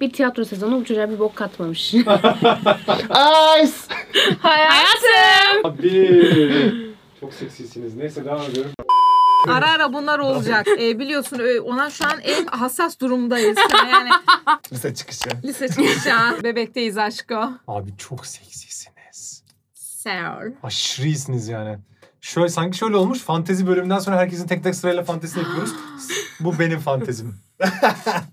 bir tiyatro sezonu uçuruya bir bok katmamış. Ice! Hayatım! Abi. Çok seksisiniz. Neyse devam ediyorum. Ara ara bunlar olacak. E, biliyorsun ö- ona şu an en hassas durumdayız. Hani Yani Lise çıkışı. lise çıkışı. ha. Bebekteyiz aşko. Abi çok seksisiniz. Sir. Aşırı iyisiniz yani. Şöyle sanki şöyle olmuş. Fantezi bölümünden sonra herkesin tek tek sırayla fantezini yapıyoruz. Bu benim fantezim.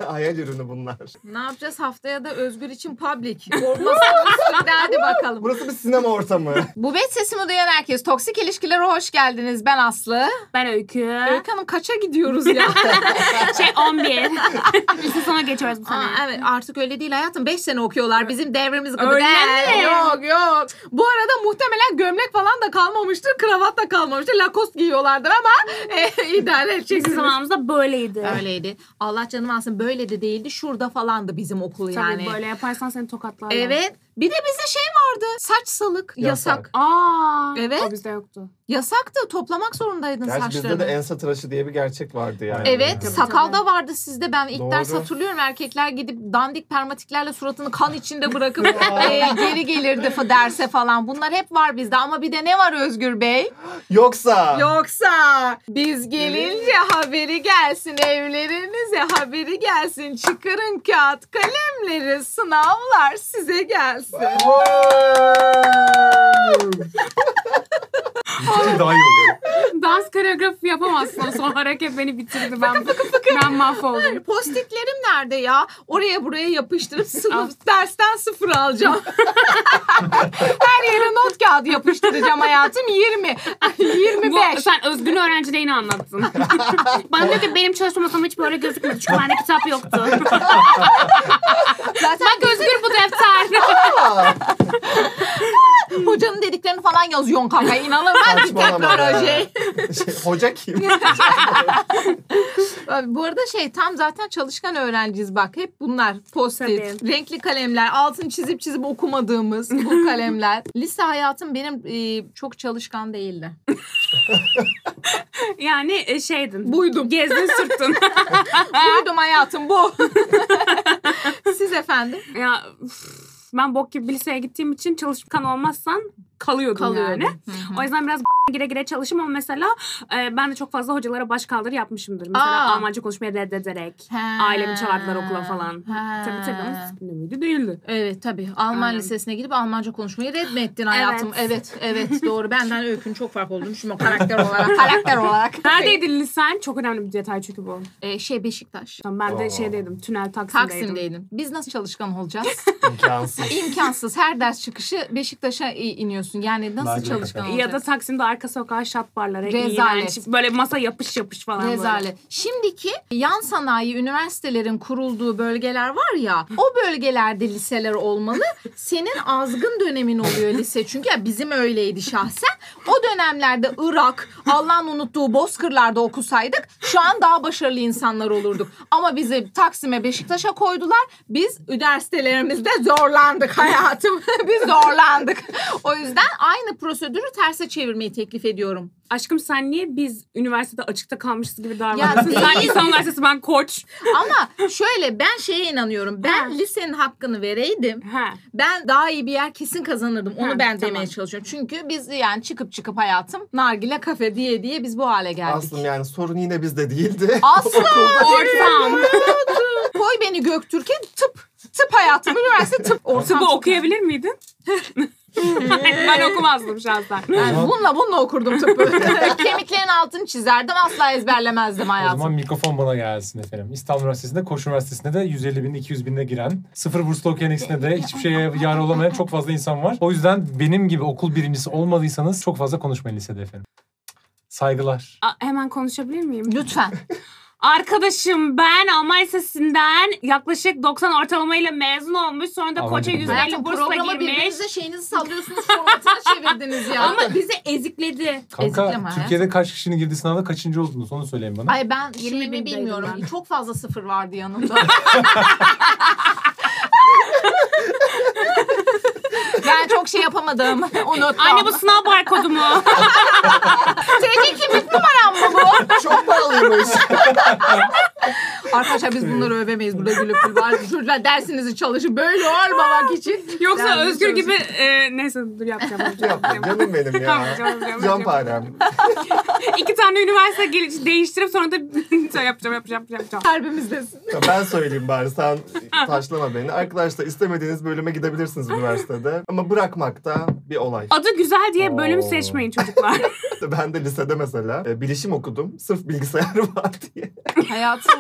Hayal ürünü bunlar. Ne yapacağız haftaya da Özgür için public. Olmasa üstünde hadi bakalım. Burası bir sinema ortamı. Bu bet sesimi duyan herkes. Toksik ilişkilere hoş geldiniz. Ben Aslı. Ben Öykü. Öykü Hanım kaça gidiyoruz ya? Şey 11. Lise sona geçiyoruz bu sene. Aa, evet artık öyle değil hayatım. 5 sene okuyorlar bizim devrimiz gibi. Öyle değil. mi? Yok yok. Bu arada muhtemelen gömlek falan da kalmamıştır. Kravat da kalmamıştır. Lacoste giyiyorlardır ama e, idare Bizim edeceksiniz. zamanımızda böyleydi. Öyleydi. Allah canım alsın böyle de değildi. Şurada falandı bizim okul Tabii yani. böyle yaparsan seni tokatlarlar. Evet. Bir de bizde şey vardı. Saç salık. Yasak. Yasak. Aa. Evet. O bizde yoktu. Yasaktı. Toplamak zorundaydın Gerçi saçlarını. bizde de ense tıraşı diye bir gerçek vardı yani. Evet, Tabii, sakal tabii. da vardı sizde. Ben ilk Doğru. ders hatırlıyorum erkekler gidip dandik permatiklerle suratını kan içinde bırakıp e, geri gelirdi fa- derse falan. Bunlar hep var bizde ama bir de ne var Özgür Bey? Yoksa Yoksa biz gelince haberi gelsin evlerinize haberi gelsin. Çıkarın kağıt kalemleri sınavlar size gelsin. Bitince daha iyi oluyor. Dans koreografi yapamazsın. Son hareket beni bitirdi. Ben, ben mahvoldum. Postitlerim nerede ya? Oraya buraya yapıştırıp sınıf dersten sıfır alacağım. Her yere not kağıdı yapıştıracağım hayatım 20. Bu, 25. sen özgün öğrenciliğini anlattın. Bana diyor ki benim çalışma masam hiç böyle gözükmüyordu. Çünkü bende kitap yoktu. Zaten Bak özgür bu defter. hocanın dediklerini falan yazıyorsun kanka. İnanılmaz bir Saçmalama be. teknoloji. Şey, hoca kim? Abi Bu arada şey tam zaten çalışkan öğrenciyiz bak. Hep bunlar post-it, renkli kalemler, altın çizip çizip okumadığımız bu kalemler. Lise hayatım benim e, çok çalışkan değildi. yani e, şeydin. Buydum. Gezdin sürttün. Buydum hayatım bu. Siz efendim? ya üf, ben bok gibi bir liseye gittiğim için çalışkan olmazsan kalıyordun Kalıyordum. yani. O yüzden biraz gire gire çalışım ama mesela e, ben de çok fazla hocalara başkaldırı yapmışımdır. Mesela Aa. Almanca konuşmayı reddederek. He. Ailemi çağırdılar okula falan. He. Tabii tabii ama disiplinli miydi? Değildi. Evet tabii. Alman Aynen. lisesine gidip Almanca konuşmayı reddettin hayatım. Evet evet, doğru. Benden öykün çok fark olduğunu düşünüyorum karakter olarak. karakter olarak. Neredeydi lisen? Çok önemli bir detay çünkü bu. Ee, şey Beşiktaş. Tamam, ben de Aa. şeydeydim. Tünel Taksim'deydim. Taksim'deydin. Biz nasıl çalışkan olacağız? İmkansız. İmkansız. Her ders çıkışı Beşiktaş'a i- iniyorsun. Yani nasıl Merdiven çalışkan kadar. olacağız? Ya da Taksim'de arka sokağa şat barları. Rezalet. iğrenç. Böyle masa yapış yapış falan böyle. Rezalet. Şimdiki yan sanayi üniversitelerin kurulduğu bölgeler var ya o bölgelerde liseler olmalı. Senin azgın dönemin oluyor lise çünkü ya bizim öyleydi şahsen. O dönemlerde Irak, Allah'ın unuttuğu bozkırlarda okusaydık şu an daha başarılı insanlar olurduk. Ama bizi Taksim'e Beşiktaş'a koydular. Biz üniversitelerimizde zorlandık hayatım. Biz zorlandık. O yüzden aynı prosedürü terse çevirmeyi teklif ediyorum. Aşkım sen niye biz üniversitede açıkta kalmışız gibi Ya davranıyorsun? değil. Sen İstanbul Üniversitesi ben koç. Ama şöyle ben şeye inanıyorum. Ben Ha. lisenin hakkını vereydim. He. Ben daha iyi bir yer kesin kazanırdım. Onu Ha, ben tamam. demeye çalışıyorum. Çünkü biz yani çıkıp çıkıp hayatım nargile kafe diye diye biz bu hale geldik. Aslım yani sorun yine bizde değildi. Aslı Ortam. koy beni Göktürk'e tıp tıp hayatım üniversite tıp ortam. Tıpı okuyabilir miydin? ben okumazdım şahsen. Yani bununla bununla okurdum tıpı. Kemiklerin altını çizerdim asla ezberlemezdim O hayatım. zaman mikrofon bana gelsin efendim. İstanbul Üniversitesi'nde, Koç Üniversitesi'nde de 150 bin, 200 binde giren, sıfır burslu okuyan ikisinde de hiçbir şeye yar olamayan çok fazla insan var. O yüzden benim gibi okul birincisi olmadıysanız çok fazla konuşmayın lisede efendim. Saygılar. A- hemen konuşabilir miyim? Lütfen. Arkadaşım ben Alman Lisesi'nden yaklaşık 90 ortalamayla mezun olmuş. Sonra da Aman koça canım. 150 Hayatım bursla programı girmiş. birbirinize şeyinizi sallıyorsunuz formatına çevirdiniz ya. Ama bizi ezikledi. Kanka ezikleme Türkiye'de kaç kişinin girdiği sınavda kaçıncı oldunuz onu söyleyin bana. Ay ben şeyimi bindeydim bilmiyorum. ben. Çok fazla sıfır vardı yanımda. ben çok şey yapamadım. Unuttum. Anne bu sınav barkodu mu? TC kimlik numaram mı bu? Çok pahalıymış. Arkadaşlar biz bunları övemeyiz. Burada gülüp gül var. Çocuklar dersinizi çalışın. Böyle olmamak için. Yoksa Yani Özgür çalışın. gibi e, neyse dur yapacağım. yapacağım, Yapma yapacağım. canım benim ya. Yapacağım, yapacağım, Can yapacağım. parem. İki tane üniversite gel- değiştirip sonra da yapacağım yapacağım yapacağım. yapacağım. Kalbimizdesin. Ya Ben söyleyeyim bari sen taşlama beni. Arkadaşlar istemediğiniz bölüme gidebilirsiniz üniversitede. Ama bırakmak da bir olay. Adı güzel diye bölüm Oo. seçmeyin çocuklar. Ben de lisede mesela e, bilişim okudum. Sırf bilgisayar var diye. Hayatım.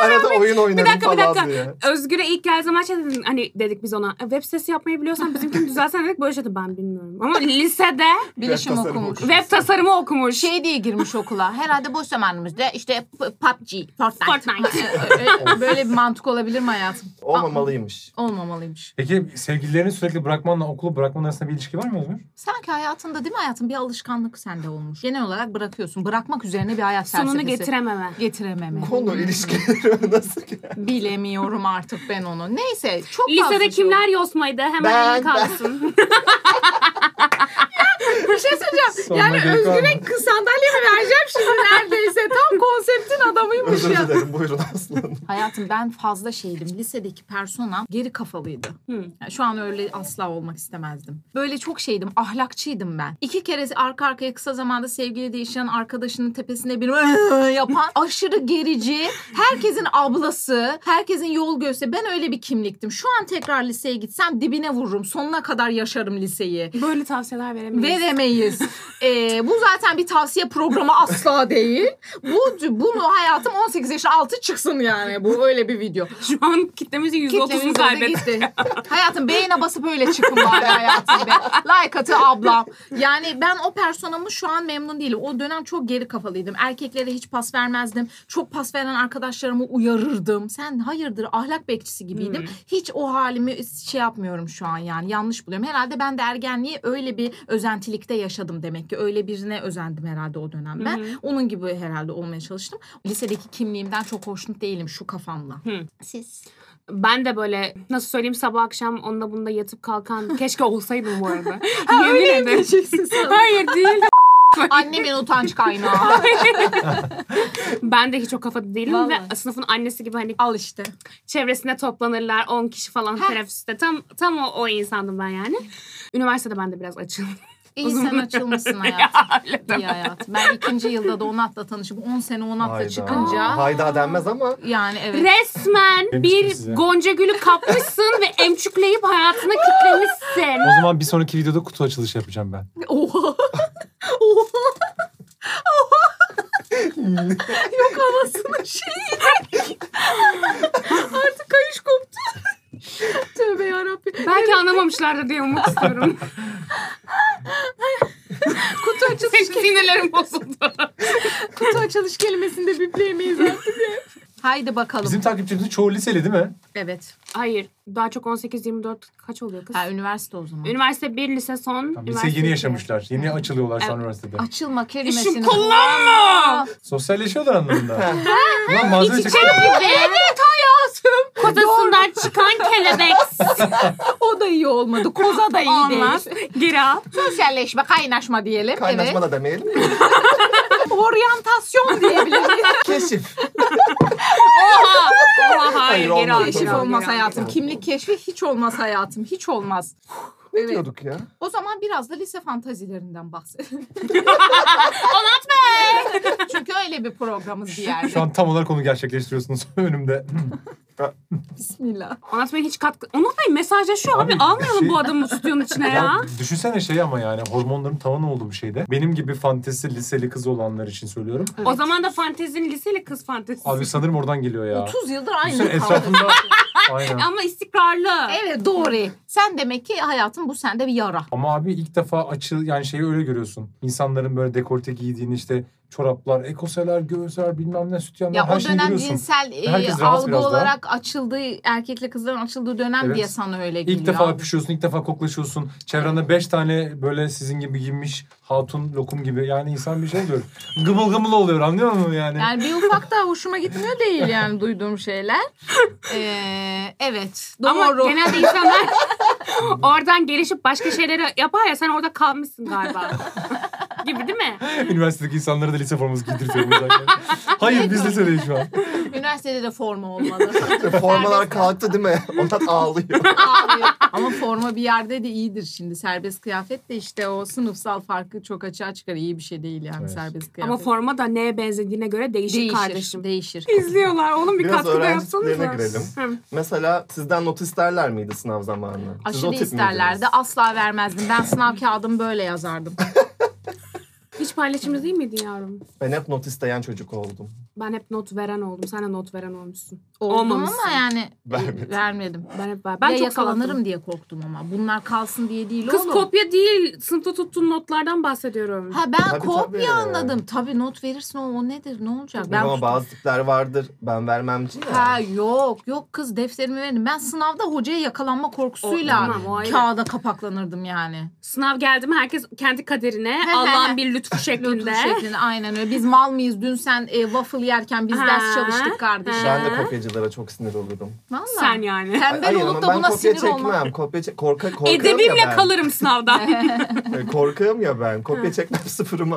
Arada oyun oynarım dakika, bir falan dakika. diye. Özgür'e ilk geldiği zaman şey dedim, hani dedik biz ona "E, web sitesi yapmayı biliyorsan bizimkini düzelsen dedik böyle şey dedi, ben bilmiyorum. Ama lisede Bilişim tasarımı okumuş. okumuş. web tasarımı okumuş. Şey diye girmiş okula. Herhalde boş zamanımızda işte p- PUBG. Fortnite. Ö- Böyle bir mantık olabilir mi hayatım? Olmamalıymış. Olmamalıymış. Peki sevgililerini sürekli bırakmanla okulu bırakman arasında bir ilişki var mı Özgür? Sanki hayatında değil mi hayatım bir alışkanlık sende olmuş. Genel olarak bırakıyorsun. Bırakmak üzerine bir hayat Sonunu felsefesi. getirememe. getirememe. Konu ilişkileri nasıl ki? Bilemiyorum artık ben onu. Neyse çok fazla Lisede şey kimler yosmaydı? Hemen Ben- ben, kalsın. Bir şey söyleyeceğim. Sonuna Yani gerek var mı? Özgür'e kız sandalye mi vereceğim şimdi neredeyse? Tam konseptin adamıymış Özür ya. dilerim buyurun aslanım. Hayatım ben fazla şeydim. Lisedeki personam geri kafalıydı. Yani şu an öyle asla olmak istemezdim. Böyle çok şeydim. Ahlakçıydım ben. İki kere arka arkaya kısa zamanda sevgili değişen arkadaşının tepesine bir yapan aşırı gerici, herkesin ablası, herkesin yol göster. Ben öyle bir kimliktim. Şu an tekrar liseye gitsem dibine vururum. Sonuna kadar yaşarım liseyi. Böyle tavsiyeler veremeyiz. Veremeyiz. Ee, bu zaten bir tavsiye programı asla değil. Bu bunu hayatım 18 yaşın altı çıksın yani. Bu öyle bir video. Şu an kitlemizin %30'unu Kitlemiz kaybettik. gitti. hayatım beğene basıp öyle çıkın bari hayatım be. Like atı ablam. Yani ben o personamı şu an memnun değilim. O dönem çok geri kafalıydım. Erkeklere hiç pas vermezdim. Çok pas veren arkadaşlarımı uyarırdım. Sen hayırdır ahlak bekçisi gibiydim. Hiç o halimi şey yapmıyorum şu an yani. Yanlış buluyorum. Herhalde ben de ergenliği öyle bir özentilikte yaşadım demek ki. Öyle birine özendim herhalde o dönem ben. Onun gibi herhalde olmaya çalıştım. Lisedeki kimliğimden çok hoşnut değilim şu kafamla. Siz? Ben de böyle nasıl söyleyeyim sabah akşam onunla bunda yatıp kalkan keşke olsaydım bu arada. Yemin ederim. Hayır değil. Annemin utanç kaynağı. Ben de hiç o kafada değilim ve Vallahi. sınıfın annesi gibi hani Al işte. çevresinde toplanırlar 10 kişi falan Heh. teneffüste. Tam tam o, o insandım ben yani. Üniversitede ben de biraz açıldım. İyi sen açılmışsın hayat. Öyle İyi hayat. Ben ikinci yılda da Onat'la tanışıp 10 sene Onat'la çıkınca Hayda denmez ama yani evet. Resmen Demiştim bir size. gonca gülü kapmışsın ve emçükleyip hayatına kitlemişsin. O zaman bir sonraki videoda kutu açılışı yapacağım ben. Oha. Oha. Yok havasının şeyi. Artık kayış koptu. Tövbe yarabbim. Belki anlamamışlardır diye umut istiyorum. Kutu açılış, Sinirlerim bozuldu. kutu açılış kelimesini de bipleyemeyiz artık ya. Haydi bakalım. Bizim takipçimizin çoğu liseli değil mi? Evet. Hayır. Daha çok 18-24 kaç oluyor kız? Ha, üniversite o zaman. Üniversite 1, lise son. Tamam, üniversite Liseyi yeni iki. yaşamışlar. Yeni açılıyorlar şu an Evet. üniversitede. Açılma kelimesini. İşim kullanma. Sosyalleşiyorlar anlamında. Ulan malzeme Şey, çıktı. Evet hayatım. Kotasından çıkan kelebek. O da iyi olmadı. Koza da iyi Olmaz. değil. Geri al. Sosyalleşme, kaynaşma diyelim. kaynaşma evet. da demeyelim. Oryantasyon diyebiliriz. Keşif. Oha. Oha Hayır, hayır. Geri olmaz. al. Keşif geri al, olmaz geri al. hayatım. Kimlik keşfi hiç olmaz hayatım. Hiç olmaz. Ne diyorduk ya? O zaman biraz da lise fantazilerinden bahsedelim. Anlat be! Çünkü öyle bir programız bir yerde. Şu an tam olarak onu gerçekleştiriyorsunuz önümde. Bismillah. Onat Bey hiç katkı... Onat Bey mesajlaşıyor abi. Abi, Almayalım şey- bu adamı stüdyonun içine ya. Ya düşünsene şey ama yani hormonların tavan olduğu bir şeyde. Benim gibi fantezi liseli kız olanlar için söylüyorum. O zaman da fantezin liseli kız fantezisi. Abi sanırım oradan geliyor ya. 30 yıldır Düşünsene aynı kaldı. etrafında... Aynen. Ama istikrarlı. Evet doğru. Sen demek ki hayatım bu sende bir yara. Ama abi ilk defa açıl yani şeyi öyle görüyorsun. İnsanların böyle dekolte giydiğini işte çoraplar, ekoseler, göğüsler bilmem ne sütyenler Ya her o şeyi dönem görüyorsun. cinsel e, Herkes rahat algı biraz daha. olarak açıldığı erkekle kızların açıldığı dönem Evet. diye sana öyle geliyor. İlk defa öpüşüyorsun, ilk defa koklaşıyorsun. Çevrende beş tane böyle sizin gibi giymiş hatun, lokum gibi. Yani insan bir şey diyor. Gımıl gımıl oluyor anlıyor musun yani? Yani bir ufak da hoşuma gitmiyor değil yani duyduğum şeyler. Ee, evet doğru. Ama genelde insanlar oradan gelişip başka şeyleri yapar ya sen orada kalmışsın galiba. gibi değil mi? Üniversitedeki insanlara da lise forması giydirtiyorum zaten. Hayır biz lisedeyiz şu an. Üniversitede de forma olmalı. Formalar kalktı değil mi? Ondan ağlıyor. Ağlıyor. Ama forma bir yerde de iyidir şimdi. Serbest kıyafet de işte o sınıfsal farkı çok açığa çıkar. İyi bir şey değil yani Evet. serbest kıyafet. Ama forma da neye benzediğine göre değişir, değişir, kardeşim. Değişir. İzliyorlar oğlum bir Biraz katkıda yapsanıza. öğrenciliklerine girelim. Hı. Mesela sizden not isterler miydi sınav zamanı? Siz o Aşırı tip isterlerdi. miydiniz? Asla vermezdim. Ben sınav kağıdımı böyle yazardım. Hiç paylaşımcı değil miydin yavrum? Ben hep not isteyen çocuk oldum. Ben hep not veren oldum. Sen de not veren olmuşsun. Oldum Olmamışsın. ama yani Vermedim. vermedim. Ben hep ben ya çok yakalanırım salaktım. diye korktum ama. Bunlar kalsın diye değil Kız oğlum. kopya değil. Sınıfta tuttuğun notlardan bahsediyorum. Ha ben Tabii, kopya tabii. anladım. Tabii not verirsin o, o nedir ne olacak? Ben Ama bazı tipler vardır. Ben vermemci ya. Ha yok yok kız defterimi verin. Ben sınavda hocaya yakalanma korkusuyla tamam, o ayrı. kağıda kapaklanırdım yani. Sınav geldi mi herkes kendi kaderine he, he. Allah'ın bir lütfu şeklinde. Lotus şeklinde aynen öyle. Biz mal mıyız? Dün sen e, waffle yerken biz Ha, ders çalıştık kardeşim. Ben de kopyacılara çok sinir olurum. Valla. Sen yani. Ay- Tembel hayır olup ama da ben buna kopya sinir çekmem. olma. Kopya çek korka korkarım ya Edebimle ben. kalırım sınavdan. E, Korkarım ya ben. Kopya çekmem sıfırımı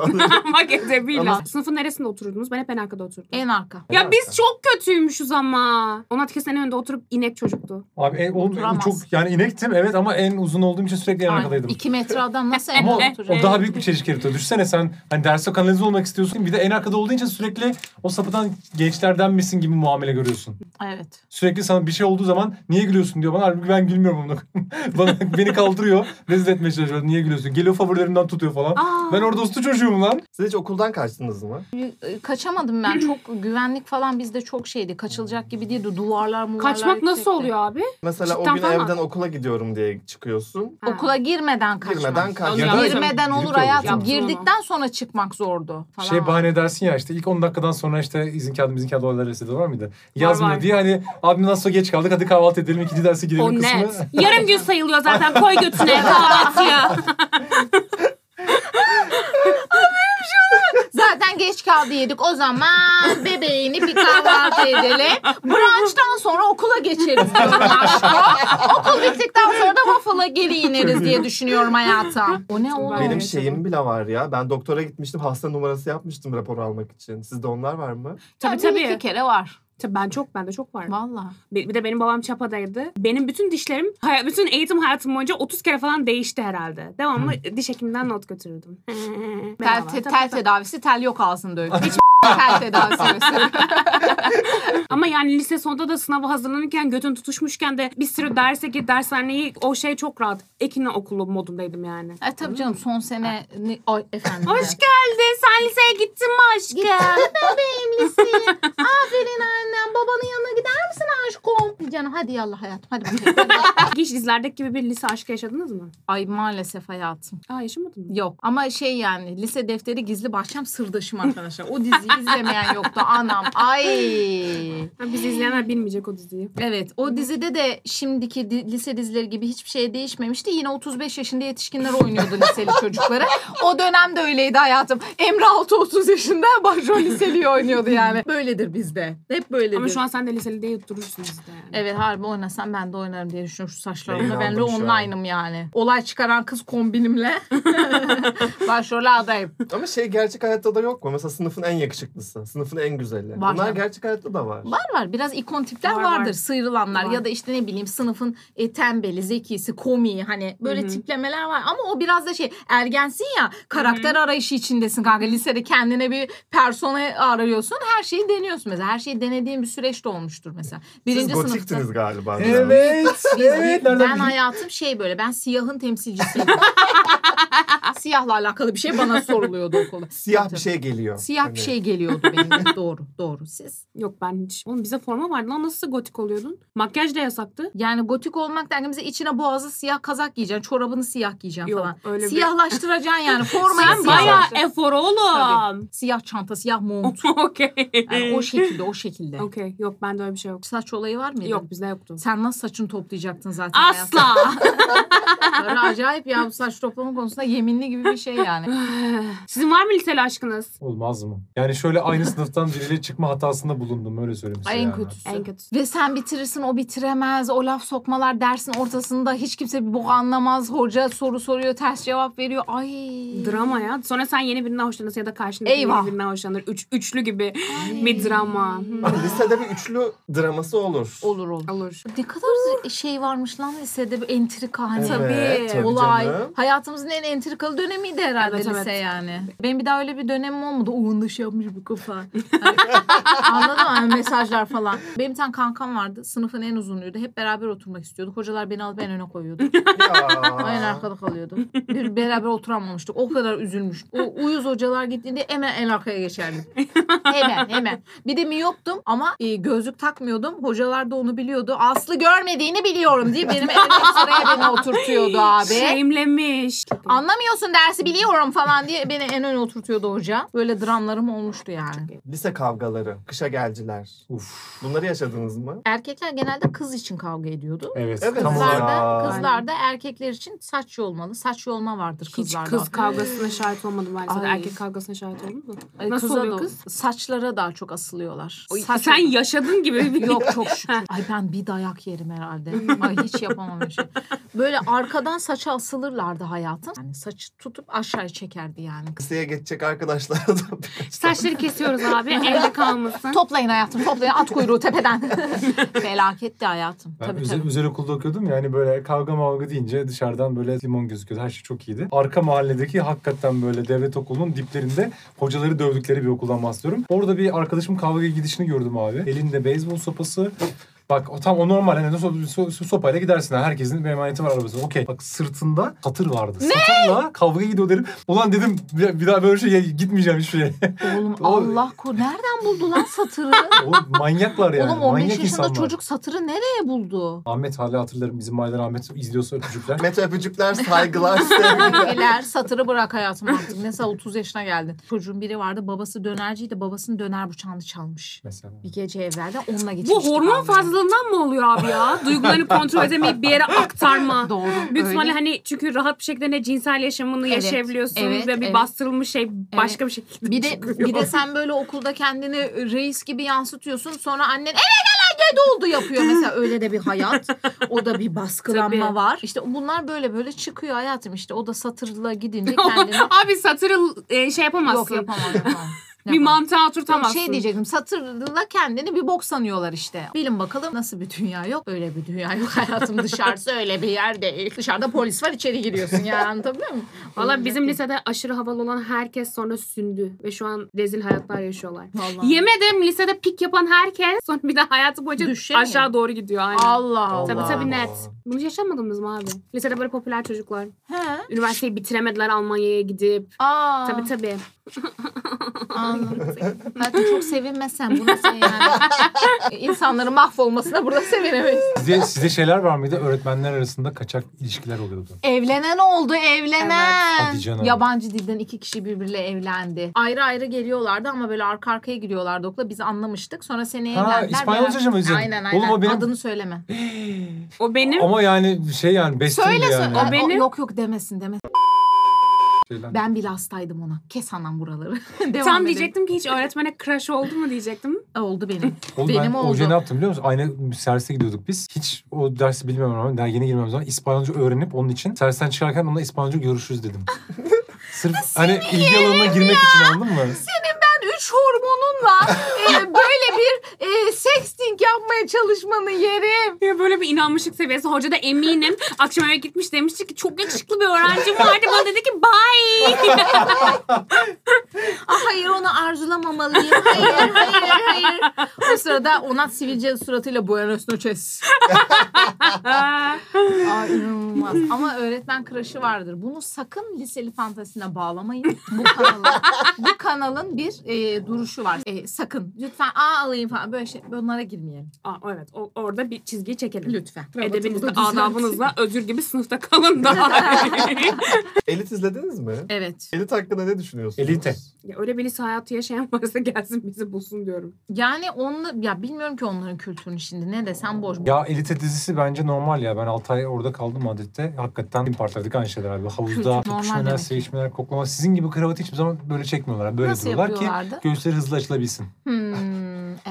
alırım. Bak edebiyle. Ama- Sınıfın neresinde otururdunuz? Ben hep en arkada oturdum. En arka. Ya biz çok kötüymüşüz ama. Onat kesin en önde oturup inek çocuktu. Abi en, oğlum, en Oturamaz. çok yani inektim evet ama en uzun olduğum için sürekli en Ay, arkadaydım. İki metre adam nasıl en Ama o, oturacak? o daha büyük bir çeşit kerita. Düşsene sen hani derse kanalize olmak istiyorsun. Bir de en arkada olduğun için sürekli o sapıtan gençlerden misin gibi muamele görüyorsun. Evet. Sürekli sana bir şey olduğu zaman niye gülüyorsun diyor bana. Halbuki ben gülmüyorum onu. bana, beni kaldırıyor. Rezil etmeye çalışıyor. Niye gülüyorsun? Geliyor favorilerimden tutuyor falan. Aa. Ben orada usta çocuğum lan. Siz hiç okuldan kaçtınız mı? E, Kaçamadım ben. Çok güvenlik falan bizde çok şeydi. Kaçılacak gibi değildi. Duvarlar muvarlar Kaçmak nasıl yüksekti. oluyor abi? Mesela o Cidden gün falan. evden okula gidiyorum diye çıkıyorsun. Ha. Okula girmeden kaçmak. Girmeden kaç. Ya da- Girmeden Birlikte olur olacak. hayatım. Yaptım Girdikten sonra çıkmak zordu. Falan. Şey bahane edersin ya işte ilk 10 dakikadan sonra işte izin kağıdı izin kağıdı olaylar resede var mıydı? Yazmıyor var. diye hani abi nasıl geç kaldık hadi kahvaltı edelim ikinci derse gidelim O kısmı. net. Yarım gün sayılıyor zaten. Koy götüne kahvaltıya. Zaten geç kaldı yedik. O zaman bebeğini bir kahvaltı edelim. Brunch'tan sonra okula geçeriz diyorum aşkım. Okul bittikten sonra da waffle'a geri ineriz diye düşünüyorum hayatım. O ne oğlum? Ay, Benim evet, şeyim bile var ya. Ben doktora gitmiştim. Hasta numarası yapmıştım rapor almak için. Sizde onlar var mı? tabii Ya bir tabii. iki kere var. Tabii ben çok, bende çok var. Valla. Bir bir de benim babam çapadaydı. Benim bütün dişlerim, hay- bütün eğitim hayatım boyunca 30 kere falan değişti herhalde. Devamlı diş hekiminden not götürürdüm. Tel, Merhaba. te- Tabii, tel tabii. tedavisi tel yok ağzında öyle. Hiç tel tedavisi gösteriyor. Ama yani lise sonunda da sınava hazırlanırken götün tutuşmuşken de bir sürü derse gir dershaneyi o şey çok rahat. Ekine okulu modundaydım yani. E tabii canım son sene... ne- Ay efendim. Hoş geldin. Sen liseye gittin mi aşkım? Bebeğimlisin. Aferin annem. Babanın yanına gider misin aşkım? Canım hadi yallah hayatım. Hadi bakayım. Hadi. Hiç dizlerdeki gibi bir lise aşkı yaşadınız mı? Ay maalesef hayatım. Aa yaşamadın mı? Yok ama şey yani lise defteri gizli bahçem sırdaşım arkadaşlar. O diziyi izlemeyen yoktu anam. Ay. Ha, bizi izleyenler bilmeyecek o diziyi. Evet o dizide de şimdiki di- lise dizileri gibi hiçbir şey değişmemişti. Yine 35 yaşında yetişkinler oynuyordu liseli çocukları. O dönem de öyleydi hayatım. Emre Altı 30 yaşında başrol liseliyi oynuyordu yani. Böyledir bizde. Hep böyledir. Ama şu an sen de liseli değil durursun işte yani. Evet harbi oynasam ben de oynarım diye düşünüyorum şu saçlarımla. Yayın Ben de aldım şu online'ım yani. Olay çıkaran kız kombinimle başrole adayım. Ama şey gerçek hayatta da yok mu? Mesela sınıfın en yakışıklısı, sınıfın en güzeli. Var Bunlar ya. gerçek hayatta da var. Var var biraz ikon tipler Var, vardır var. sıyrılanlar Var. ya da işte ne bileyim sınıfın e, tembeli, zekisi, komiği hani böyle Hı hı. tiplemeler var. Ama o biraz da şey ergensin ya karakter arayışı içindesin kanka. Lisede kendine bir persona arıyorsun her şeyi deniyorsun mesela. Her şeyi denediğin bir süreç de olmuştur mesela. Siz Birinci sınıfta. gotiktiniz galiba. Evet. evet. Nereden ben bildin? hayatım şey böyle ben siyahın temsilcisiyim. Siyahla alakalı bir şey bana soruluyordu okulda. Siyah Tabii. bir şey geliyor. Siyah Hani bir şey geliyordu benim. doğru, doğru. Siz? Yok ben hiç. Oğlum bize forma vardı lan nasıl gotik oluyordun? Makyaj da yasaktı. Yani gotik olmak derken bize içine boğazı siyah kazak giyeceksin, çorabını siyah giyeceksin Yok, falan. öyle bir- Siyahlaştıracaksın yani. Formaya Sen siyah. bayağı efor oğlum. Tabii. Siyah çanta, siyah mont. Okey. Yani o şekilde, o şekilde. Okey. Ee. Yok bende öyle bir şey yok. Saç olayı var mıydı? Yok bizde yoktu. Sen nasıl saçını toplayacaktın zaten? Asla. hayatım? Acayip ya bu saç toplama konusunda yeminli gibi bir şey yani. Sizin var mı liseli aşkınız? Olmaz mı? Yani şöyle aynı sınıftan biriyle çıkma hatasında bulundum öyle söyleyeyim size. Ay, en yani. kötüsü. En kötüsü. Ve sen bitirirsin o bitiremez. O laf sokmalar dersin ortasında hiç kimse bir bok anlamaz. Hoca soru soruyor ters cevap veriyor. Ay. Drama ya. Sonra sen yeni birinden hoşlanırsın ya da karşındaki Eyvah. yeni birinden hoşlanır. Üç, üçlü gibi Ay. bir drama. Hmm. Hani Lisede bir üçlü draması olur. şey. Olur olur. Olur. Ne kadar şey varmış lan lisede bir entrika hani. Evet. tabii, Olay. canım. Hayatımızın en entrikalı dönemiydi herhalde Evet, lise evet. yani. Benim bir daha öyle bir dönemim olmadı. O dışı yapmış bu kafa. Hani, Anladın mı? Hani mesajlar falan. Benim bir tane kankam vardı. Sınıfın en uzunuydu. Hep beraber oturmak istiyorduk. Hocalar beni alıp en öne koyuyordu. Ya. Aynen arkada kalıyordum. Bir, beraber oturamamıştık. O kadar üzülmüş. O uyuz hocalar gittiğinde hemen en arkaya geçerdim. hemen hemen. Bir de miyoptum ama e, gözlük takmıyordum. Hocalar da onu biliyordu. Aslı görmediğini biliyorum diye benim en ön sıraya beni oturtuyordu abi. Şey Shame'lemiş. Anlamıyorsun dersi biliyorum falan diye beni en öne oturtuyordu hoca. Böyle dramlarım olmuştu yani. Lise kavgaları, kışa gelciler. Uf. Bunları yaşadınız mı? Erkekler genelde kız için kavga ediyordu. Evet, Evet. tam Kızlar olarak. Kızlarda, Ya. kızlarda erkekler için saç yolmalı. Saç yolma vardır Hiç kızlarda. kız kavgasına şahit olmadım ben. Lisede. Ay. Erkek kavgasına şahit oldun mu? Ay, Nasıl kıza oluyor da- kız? Saçlara daha çok asılıyorlar. Ay, Sen yaşadın gibi. bir- Yok çok şükür. Ay ben bir dayak yerim herhalde. Ay hiç yapamam öyle şey. Böyle arkadan saça asılırlardı hayatım. Yani saçı tutup aşağıya çekerdi yani. Liseye geçecek arkadaşlara da Saçları kesiyoruz abi. Evde kalmasın. Toplayın hayatım toplayın at kuyruğu tepeden. Felaketti hayatım. Ben tabii özel, tabii. özel okulda okuyordum yani böyle kavga mavga deyince dışarıdan böyle limon gözüküyordu. Her şey çok iyiydi. Arka mahalledeki hakikaten böyle devlet okulunun diplerinde hocaları dövdükleri bir okuldan bahsediyorum. Orada bir arkadaşım kavgaya gidişini gördüm abi. Elinde beyzbol sopası. Bak o tam o normal hani so, so- so- sopayla gidersin. ha. Herkesin bir emaneti var arabasında. Okey. Bak sırtında katır vardı. Ne? Satırla kavga gidiyor derim. Ulan dedim bir, bir daha böyle şey gitmeyeceğim hiçbir şeye. Oğlum Oğlum- Allah koru. Nereden buldu lan satırı? Oğlum manyaklar yani. Oğlum 15 Manyak yaşında insanlar. çocuk satırı nereye buldu? Ahmet hala hatırlarım. Bizim mahalleden Ahmet izliyorsa öpücükler. Mete öpücükler, saygılar, sevgiler. Sevgiler satırı bırak hayatım artık. Mesela 30 yaşına geldin. Çocuğun biri vardı babası dönerciydi. Babasının döner bıçağını çalmış. Mesela. Bir gece evvelden onunla geçmiştik. Bu hormon almayı. fazlalığından mı oluyor abi ya? Duygularını kontrol edemeyip bir yere aktarma. Doğru. Büyük öyle. ihtimalle hani çünkü rahat bir şekilde ne cinsel yaşamını Evet, yaşayabiliyorsun evet, ve bir evet. bastırılmış şey başka bir şekilde bir de çıkıyor. bir de sen böyle okulda kendini reis gibi yansıtıyorsun. Sonra annen eve gelen gel oldu yapıyor mesela öyle de bir hayat. O da bir baskılanma Tabii. var. İşte bunlar böyle böyle çıkıyor hayatım. İşte o da satırla gidince kendini abi satırı e, şey yok yapamazsın. yapamam yapamam. bir mantığa oturtamazsın. Şey diyecektim satırla kendini bir bok sanıyorlar işte. Bilin bakalım nasıl bir dünya yok. Öyle bir dünya yok hayatım dışarısı öyle bir yer değil. Dışarıda polis var içeri giriyorsun yani anlatabiliyor muyum? Valla bizim lisede aşırı havalı olan herkes sonra sündü. Ve şu an rezil hayatlar yaşıyorlar. Vallahi. Yemedim lisede pik yapan herkes sonra bir de hayatı boyunca Düşemiyor. aşağı doğru gidiyor. Aynen. Allah Allah. Tabii tabii net. Allah. Bunu yaşamadınız mı abi? Lisede böyle popüler çocuklar. He. Üniversiteyi bitiremediler Almanya'ya gidip. Aa. Tabii tabii. Anladım. Hayatım çok sevinmesen bu nasıl yani? İnsanların mahvolmasına burada sevinemeyiz. Size, size şeyler var mıydı? Öğretmenler arasında kaçak ilişkiler oluyordu. Evlenen oldu evlenen. Evet. Hadi canım. Yabancı dilden iki kişi birbiriyle evlendi. Ayrı ayrı geliyorlardı ama böyle arka arkaya giriyorlardı okula. Biz anlamıştık. Sonra seni Ha, evlendiler. İspanyolca beraber- mı izledin? Aynen aynen. Oğlum o benim- Adını söyleme. O benim. Ama yani şey yani bestim Söyle yani. söyle. O benim- yok yok demesin demesin. Şeyler. Ben bile hastaydım ona. Kes anam buraları. Devam Tam edelim. diyecektim ki hiç öğretmene crush oldu mu diyecektim. Oldu benim. Oğlum ben benim oldu. hoca ne yaptım biliyor musun? Aynı servise gidiyorduk biz. Hiç o dersi bilmem rağmen daha yeni girmem zaman İspanyolca öğrenip onun için servisten çıkarken onunla İspanyolca görüşürüz dedim. Sırf hani ilgi şey alanına girmek için anladın mı? Sen üç hormonunla e, böyle bir e, sexting yapmaya çalışmanı yerim. Ya böyle bir inanmışlık seviyesi. Hoca da eminim. Akşam eve gitmiş demişti ki çok yakışıklı bir öğrencim vardı. Bana dedi ki bye. Ah, hayır onu arzulamamalıyım. Hayır hayır hayır. O sırada ona sivilce suratıyla Buenos noches. Aa, Aa, inanılmaz. Ama öğretmen crush'ı vardır. Bunu sakın liseli fantasine bağlamayın. Bu kanalın, bu kanalın bir e, duruşu var. E, sakın. Lütfen A alayım falan. böyle şey bunlara girmeyelim. Aa, evet o- orada bir çizgiyi çekelim. Lütfen. Edebinizle, Rabatımı da düzelt. adabınızla özür gibi sınıfta kalın daha. Elit izlediniz mi? Evet. Elit hakkında ne düşünüyorsunuz? Elite. ya öyle bir lise hayatı yaşayan varsa gelsin bizi bulsun diyorum. Yani onunla ya bilmiyorum ki onların kültürünü şimdi ne desem boş. Ya Elite dizisi bence normal ya. Ben 6 ay orada kaldım Madrid'de. Hakikaten bin partladık aynı şeyler abi. Havuzda Normal tutuşmalar, demek. sevişmeler, koklama. Sizin gibi kravatı hiçbir zaman böyle çekmiyorlar. Böyle Nasıl diyorlar ki yapıyorlardı? göğüsleri hızlı açılabilsin. Hmm,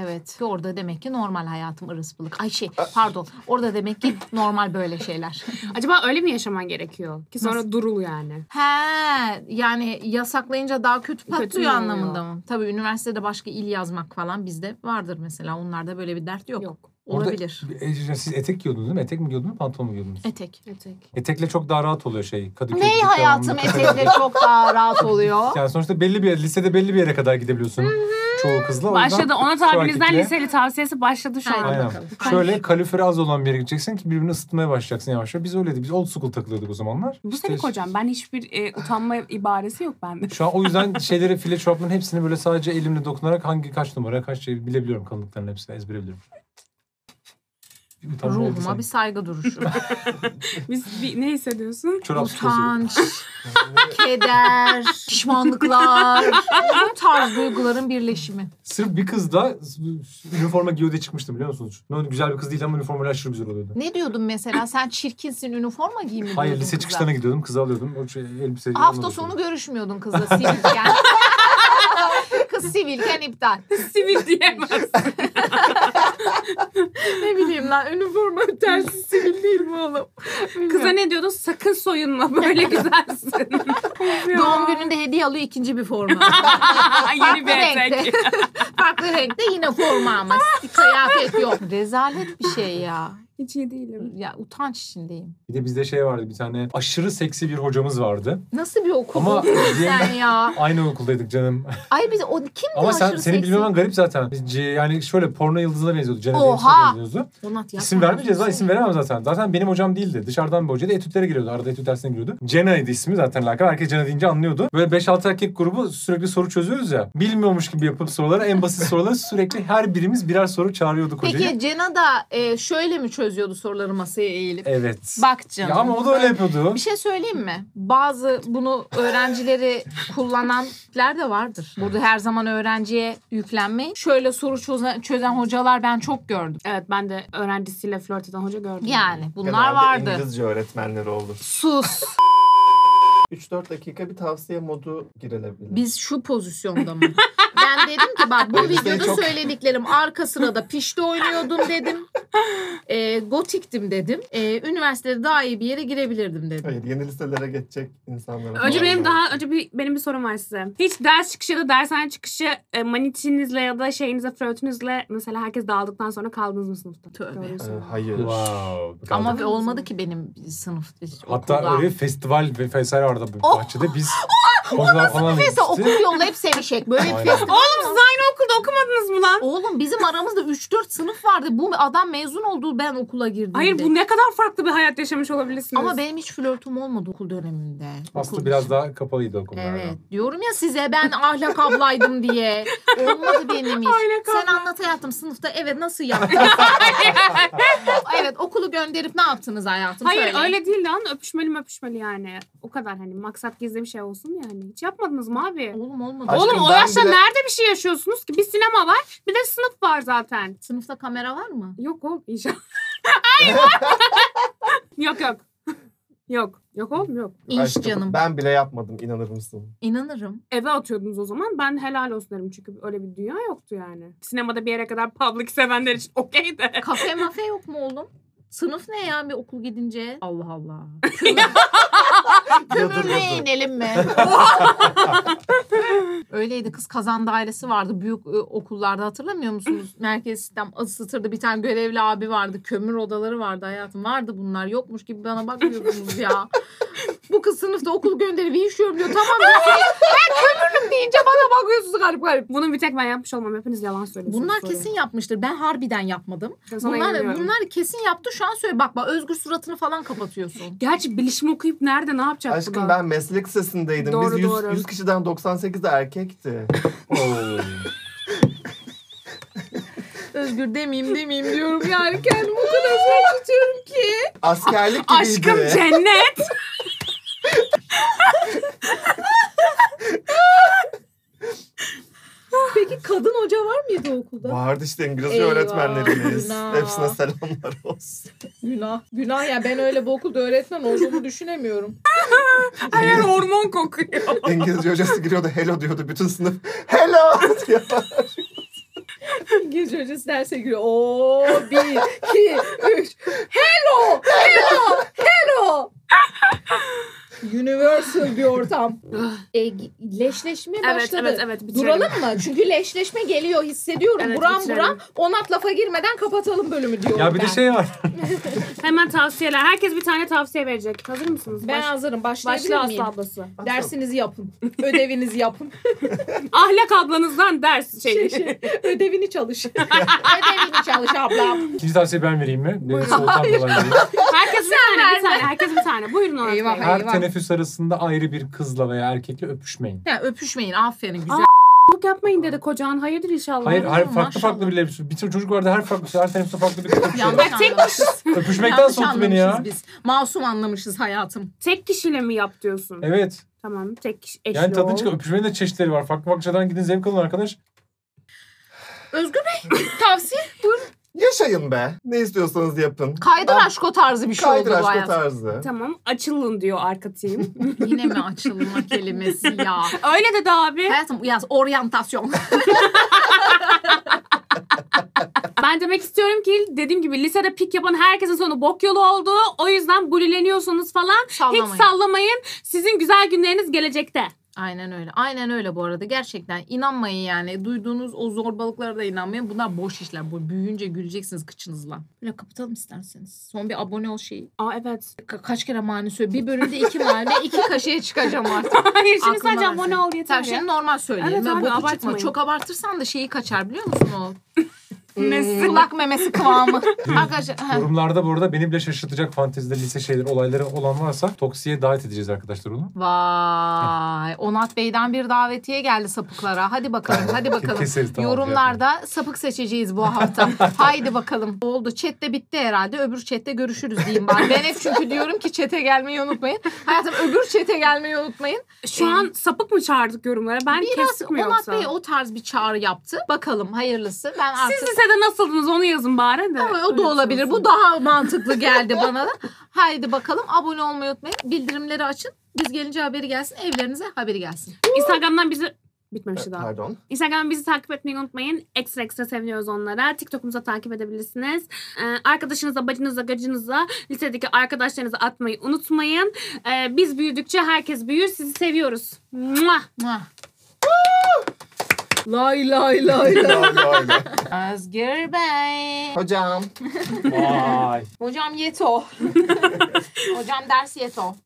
evet. Orada demek ki normal hayatım ırısbılık. Ay şey pardon. Orada demek ki normal böyle şeyler. Acaba öyle mi yaşaman gerekiyor? Ki sonra durul yani. He yani yasaklayınca daha kötü patlıyor Kötü mü oluyor? anlamında mı? Tabii üniversitede başka il yazmak falan bizde vardır mesela. Onlarda böyle bir dert yok. Yok. Orada- Olabilir. E, siz etek giyiyordunuz değil mi? Etek mi giyiyordunuz, pantolon mu giyiyordunuz? Etek. Etek. Etekle çok daha rahat oluyor şey. Kadıköy Ney Gidip hayatım devamlı- etekle çok daha rahat oluyor. Yani sonuçta belli bir yer, lisede belli bir yere kadar gidebiliyorsun çoğu kızla. O yüzden Başladı. Ona şu tabirinizden erkekle- liseli tavsiyesi başladı şu Aynen. an. Aynen. bakalım. Şöyle kaloriferi az olan bir yere gideceksin ki birbirini ısıtmaya başlayacaksın yavaş yavaş. Biz öyleydik. Biz old school takılıyorduk o zamanlar. Bu İşte senin kocan. Ben hiçbir e, utanma ibaresi yok bende. Şu an o yüzden şeyleri file çorapların hepsini böyle sadece elimle dokunarak hangi kaç numara kaç şey bilebiliyorum kalınlıkların hepsini ezbere biliyorum. Bir utanma oldu Ruhuma sanki. bir saygı duruşu. Biz bir, ne hissediyorsun? Çorap tutuyorsun. Utanç, keder, pişmanlıklar. Bu tarz duyguların birleşimi. Sırf bir kız da üniforma giyiyor diye çıkmıştı biliyor musunuz? Ne oldu, Güzel bir kız değil ama üniformayla aşırı güzel oluyordu. Ne diyordun mesela? Sen çirkinsin, üniforma giyimi Hayır diyordun lise kıza. çıkışlarına gidiyordum. Kızı alıyordum. O şey, elbise Hafta sonu görüşmüyordun kızla sivilken. Kız sivilken iptal. Sivil diyemez. Ne bileyim lan üniforma tersi sivil değil mi oğlum? Kıza ne diyordun? Sakın soyunma. Böyle güzelsin. Doğum gününde hediye alıyor ikinci bir forma. Yeni bir renkte. etek. Farklı renkte yine forma ama kıyafet yok. Rezalet bir şey ya. Hiç iyi değilim. Ya utanç içindeyim. Bir de bizde şey vardı bir tane aşırı seksi bir hocamız vardı. Nasıl bir okul Ama- okudun sen ya? Aynı okuldaydık canım. Ay biz o kimdi Ama sen, aşırı seni seksi? bilmemen garip zaten. Biz C- Yani şöyle porno yıldızına benziyordu. Janet Oha! Jameson'a benziyordu. Onat, İsim yapma. vermeyeceğiz lan isim veremem zaten. Zaten benim hocam değildi. Dışarıdan bir hocaydı. Etütlere giriyordu. Arada etüt dersine giriyordu. Cena'ydı ismi zaten lakabı. Herkes Cena deyince anlıyordu. Böyle 5-6 erkek grubu sürekli soru çözüyoruz ya. Bilmiyormuş gibi yapıp soruları en basit soruları sürekli her birimiz birer soru çağırıyorduk hocayı. Peki Cena da e, şöyle mi çözüyordu soruları masaya eğilip? Evet. Bak canım. ya ama o da öyle yapıyordu. Bir şey söyleyeyim mi? Bazı bunu öğrencileri kullananlar da vardır. Burada her zaman öğrenciye yüklenmeyin. Şöyle soru çözen, çözen hocalar ben çok gördüm. Evet ben de öğrencisiyle flört eden hoca gördüm. Yani bunlar Genelde vardı. İngilizce öğretmenleri olur. Sus. 3-4 dakika bir tavsiye modu girilebilir. Biz şu pozisyonda mı? Ben dedim ki bak bu Elbiseyi videoda çok- söylediklerim arka sırada pişti oynuyordum dedim. E, gotiktim dedim. E, üniversitede daha iyi bir yere girebilirdim dedim. Hayır yeni liselere geçecek insanlara. Önce falan Ee, benim lazım. daha önce bir benim bir sorum var size. Hiç ders çıkışı ya da dershane çıkışı e, manitinizle ya da şeyinizle flörtünüzle mesela herkes dağıldıktan sonra kaldınız mı sınıfta? Tövbe. Gördünüz mü? Ee, hayır. Wow. Ama Kaldı. olmadı ki benim sınıf Hatta okulda. öyle festival ve vesaire vardı Oh! bahçede. Biz hocalar falan Neyse gitti. okul yolu hep sevişek. Böyle bir Aynen. festival Oğlum siz aynı okulda okumadınız mı lan? Oğlum bizim aramızda 3-4 sınıf vardı. Bu adam mezun oldu ben okula girdim. Hayır bu ne kadar farklı bir hayat yaşamış olabilirsiniz. Ama benim hiç flörtüm olmadı okul döneminde. Aslı Okul- biraz daha kapalıydı okullarda. Evet. Diyorum ya size ben ahlak ablaydım diye. Olmadı benim hiç. Ahlak Sen anlat hayatım sınıfta evet nasıl yaptın? evet okulu gönderip ne yaptınız hayatım? Hayır Söyle. öyle değil lan öpüşmeli öpüşmeli yani. O kadar hani maksat gizli bir şey olsun yani. Hiç yapmadınız mı abi? Oğlum olmadı. Aşkım, Oğlum o ben yaşta bile- nerede bir şey yaşıyorsunuz ki? Bir sinema var bir de sınıf var zaten. Sınıfta kamera var mı? Yok oğlum inşallah. Ay yok yok. Yok. Yok oğlum yok. İnş Aşkım, canım. Ben bile yapmadım inanır mısın? İnanırım. Eve atıyordunuz o zaman. Ben helal olsun derim çünkü öyle bir dünya yoktu yani. Sinemada bir yere kadar public sevenler için okey de. Kafe mafe yok mu oğlum? Sınıf ne ya bir okul gidince? Allah Allah. Kömürlüğe Yadırgadı. inelim mi? Öyleydi kız kazan dairesi vardı büyük e, okullarda hatırlamıyor musunuz? Merkez sistem ısıtırdı bir tane görevli abi vardı kömür odaları vardı hayatım vardı bunlar yokmuş gibi bana bakmıyordunuz ya. Bu kız sınıfta okul gönderip işiyorum diyor tamam diyorum. ben kömürlüm deyince bana bakıyorsunuz garip garip. Bunu bir tek ben yapmış olmam. Hepiniz yalan söylüyorsunuz. Bunlar Sorry. kesin yapmıştır. Ben harbiden yapmadım. Sana Bunlar, inanıyorum. bunlar kesin yaptı. Şu an söyle bak bak özgür suratını falan kapatıyorsun. Gerçi bilişim okuyup nerede ne yapacak bu Aşkım da? ben meslek lisesindeydim. Doğru, Biz 100, doğru. 100 kişiden 98'i erkekti. Oo. özgür demeyeyim demeyeyim diyorum yani kendimi o kadar zor tutuyorum ki. Askerlik gibiydi. Aşkım cennet. Peki kadın hoca var mıydı okulda? Vardı işte İngilizce Eyvah, öğretmenlerimiz. günah. Hepsine selamlar olsun. Günah. Günah ya ben öyle bir okulda öğretmen olduğumu düşünemiyorum. Her yer hormon kokuyor. İngilizce hocası giriyordu hello diyordu. Bütün sınıf hello diyor. İngilizce hocası derse giriyor. Oo bir, iki, üç. Hello, hello, hello. Universal bir ortam. e, leşleşme evet başladı. evet evet. bitirelim. Duralım mı? Çünkü leşleşme geliyor hissediyorum. Evet, buram bitirelim. buram. Onat lafa girmeden kapatalım bölümü diyorum Ya bir ben. de şey var. Hemen tavsiyeler. Herkes bir tane tavsiye verecek. Hazır mısınız? Ben Baş- hazırım. Başlayabilir Başla miyim? Aslı ablası. Dersinizi yapın. Ödevinizi yapın. Ahlak ablanızdan ders şeyi. Şey, şey, ödevini çalış. ödevini çalış ablam. İkinci tavsiyeyi ben vereyim mi? Beni soğutan dolayı. Herkes bir tane, bir tane. Herkes bir tane. Buyurun Onat Eyvah. Bey. Her Eyvah. teneffüs arasında ayrı bir kızla veya erkekle öpüşmeyin. Ya öpüşmeyin. Aferin güzel. Çok yapmayın dedi kocan. Hayırdır inşallah. Hayır, her farklı maşallah. farklı biriyle öpüşün. Bir sürü çocuk vardı her farklı, her teneffüste farklı bir kız öpüşüyordu. Yanlış Bak, tek anlamışız. Öpüşmekten Yanlış soğuttu beni anlamışız ya. biz. Masum anlamışız hayatım. Tek kişiyle mi yap diyorsun? Evet. Tamam tek kişi. Eşli Yani tadın ol. çıkıyor. Öpüşmenin de çeşitleri var. Farklı farklı şeylerden gidin zevk alın arkadaş. Özgür Bey tavsiye buyurun. Yaşayın be. Ne istiyorsanız yapın. Kaydır Ben- aşko tarzı bir şey Kaydır oldu bu aşkı hayat. tarzı. Tamam açılın diyor arka team. Yine mi açılma kelimesi ya? Öyle dedi abi. Hayatım yaz oryantasyon. Ben demek istiyorum ki dediğim gibi lisede pik yapan herkesin sonu bok yolu oldu. O yüzden bulileniyorsunuz falan. Hiç Sallamayın. sallamayın. Sizin güzel günleriniz gelecekte. Aynen öyle. Aynen öyle bu arada. Gerçekten inanmayın yani. Duyduğunuz o zorbalıklara da inanmayın. Bunlar boş işler. Bu büyüyünce güleceksiniz kıçınızla. Böyle kapatalım isterseniz. Son bir abone ol şeyi. Aa evet. Ka- kaç kere mani söyle. Bir bölümde iki mani, iki kaşeye çıkacağım artık. Hayır şimdi Aklıma sadece versin. abone ol yeter Tamam ya. şimdi normal söyleyelim. Evet Evet, abi, abartmayın. çıkma. Çok abartırsan da şeyi kaçar biliyor musun o? Hmm. Nesi? Kulak memesi kıvamı. Arkadaşlar. ha. Yorumlarda bu arada beni bile şaşırtacak fantezide lise şeyleri, olayları olan varsa toksiye davet edeceğiz arkadaşlar onu. Vay. Onat Bey'den bir davetiye geldi sapıklara. Hadi bakalım, hadi bakalım. Keseriz tamam. Yorumlarda sapık seçeceğiz bu hafta. Haydi bakalım. Oldu. Chat de bitti herhalde. Öbür chat'te görüşürüz diyeyim bari. Ben hep çünkü diyorum ki chat'e gelmeyi unutmayın. Hayatım öbür chat'e gelmeyi unutmayın. Şu an sapık mı çağırdık yorumlara? Ben Biraz kestik mi Onat yoksa? Bey o tarz bir çağrı yaptı. Bakalım hayırlısı. Ben artık Siz lisede nasıldınız onu yazın bari de. Ama o da olabilir. Bu daha mantıklı geldi bana da. Haydi bakalım abone olmayı unutmayın. Bildirimleri açın. Biz gelince haberi gelsin. Evlerinize haberi gelsin. Instagram'dan bizi... Bitmemişti daha. Pardon. Instagram bizi takip etmeyi unutmayın. Ekstra ekstra seviniyoruz onlara. TikTok'umuza takip edebilirsiniz. Ee, arkadaşınıza, bacınıza, gacınıza, lisedeki arkadaşlarınıza atmayı unutmayın. Ee, biz büyüdükçe herkes büyür. Sizi seviyoruz. Mua! Muah. lay lay lay lay. Öyle öyle. Özgür Bey. Hocam. Vay. Hocam yeto. Hocam ders yeto.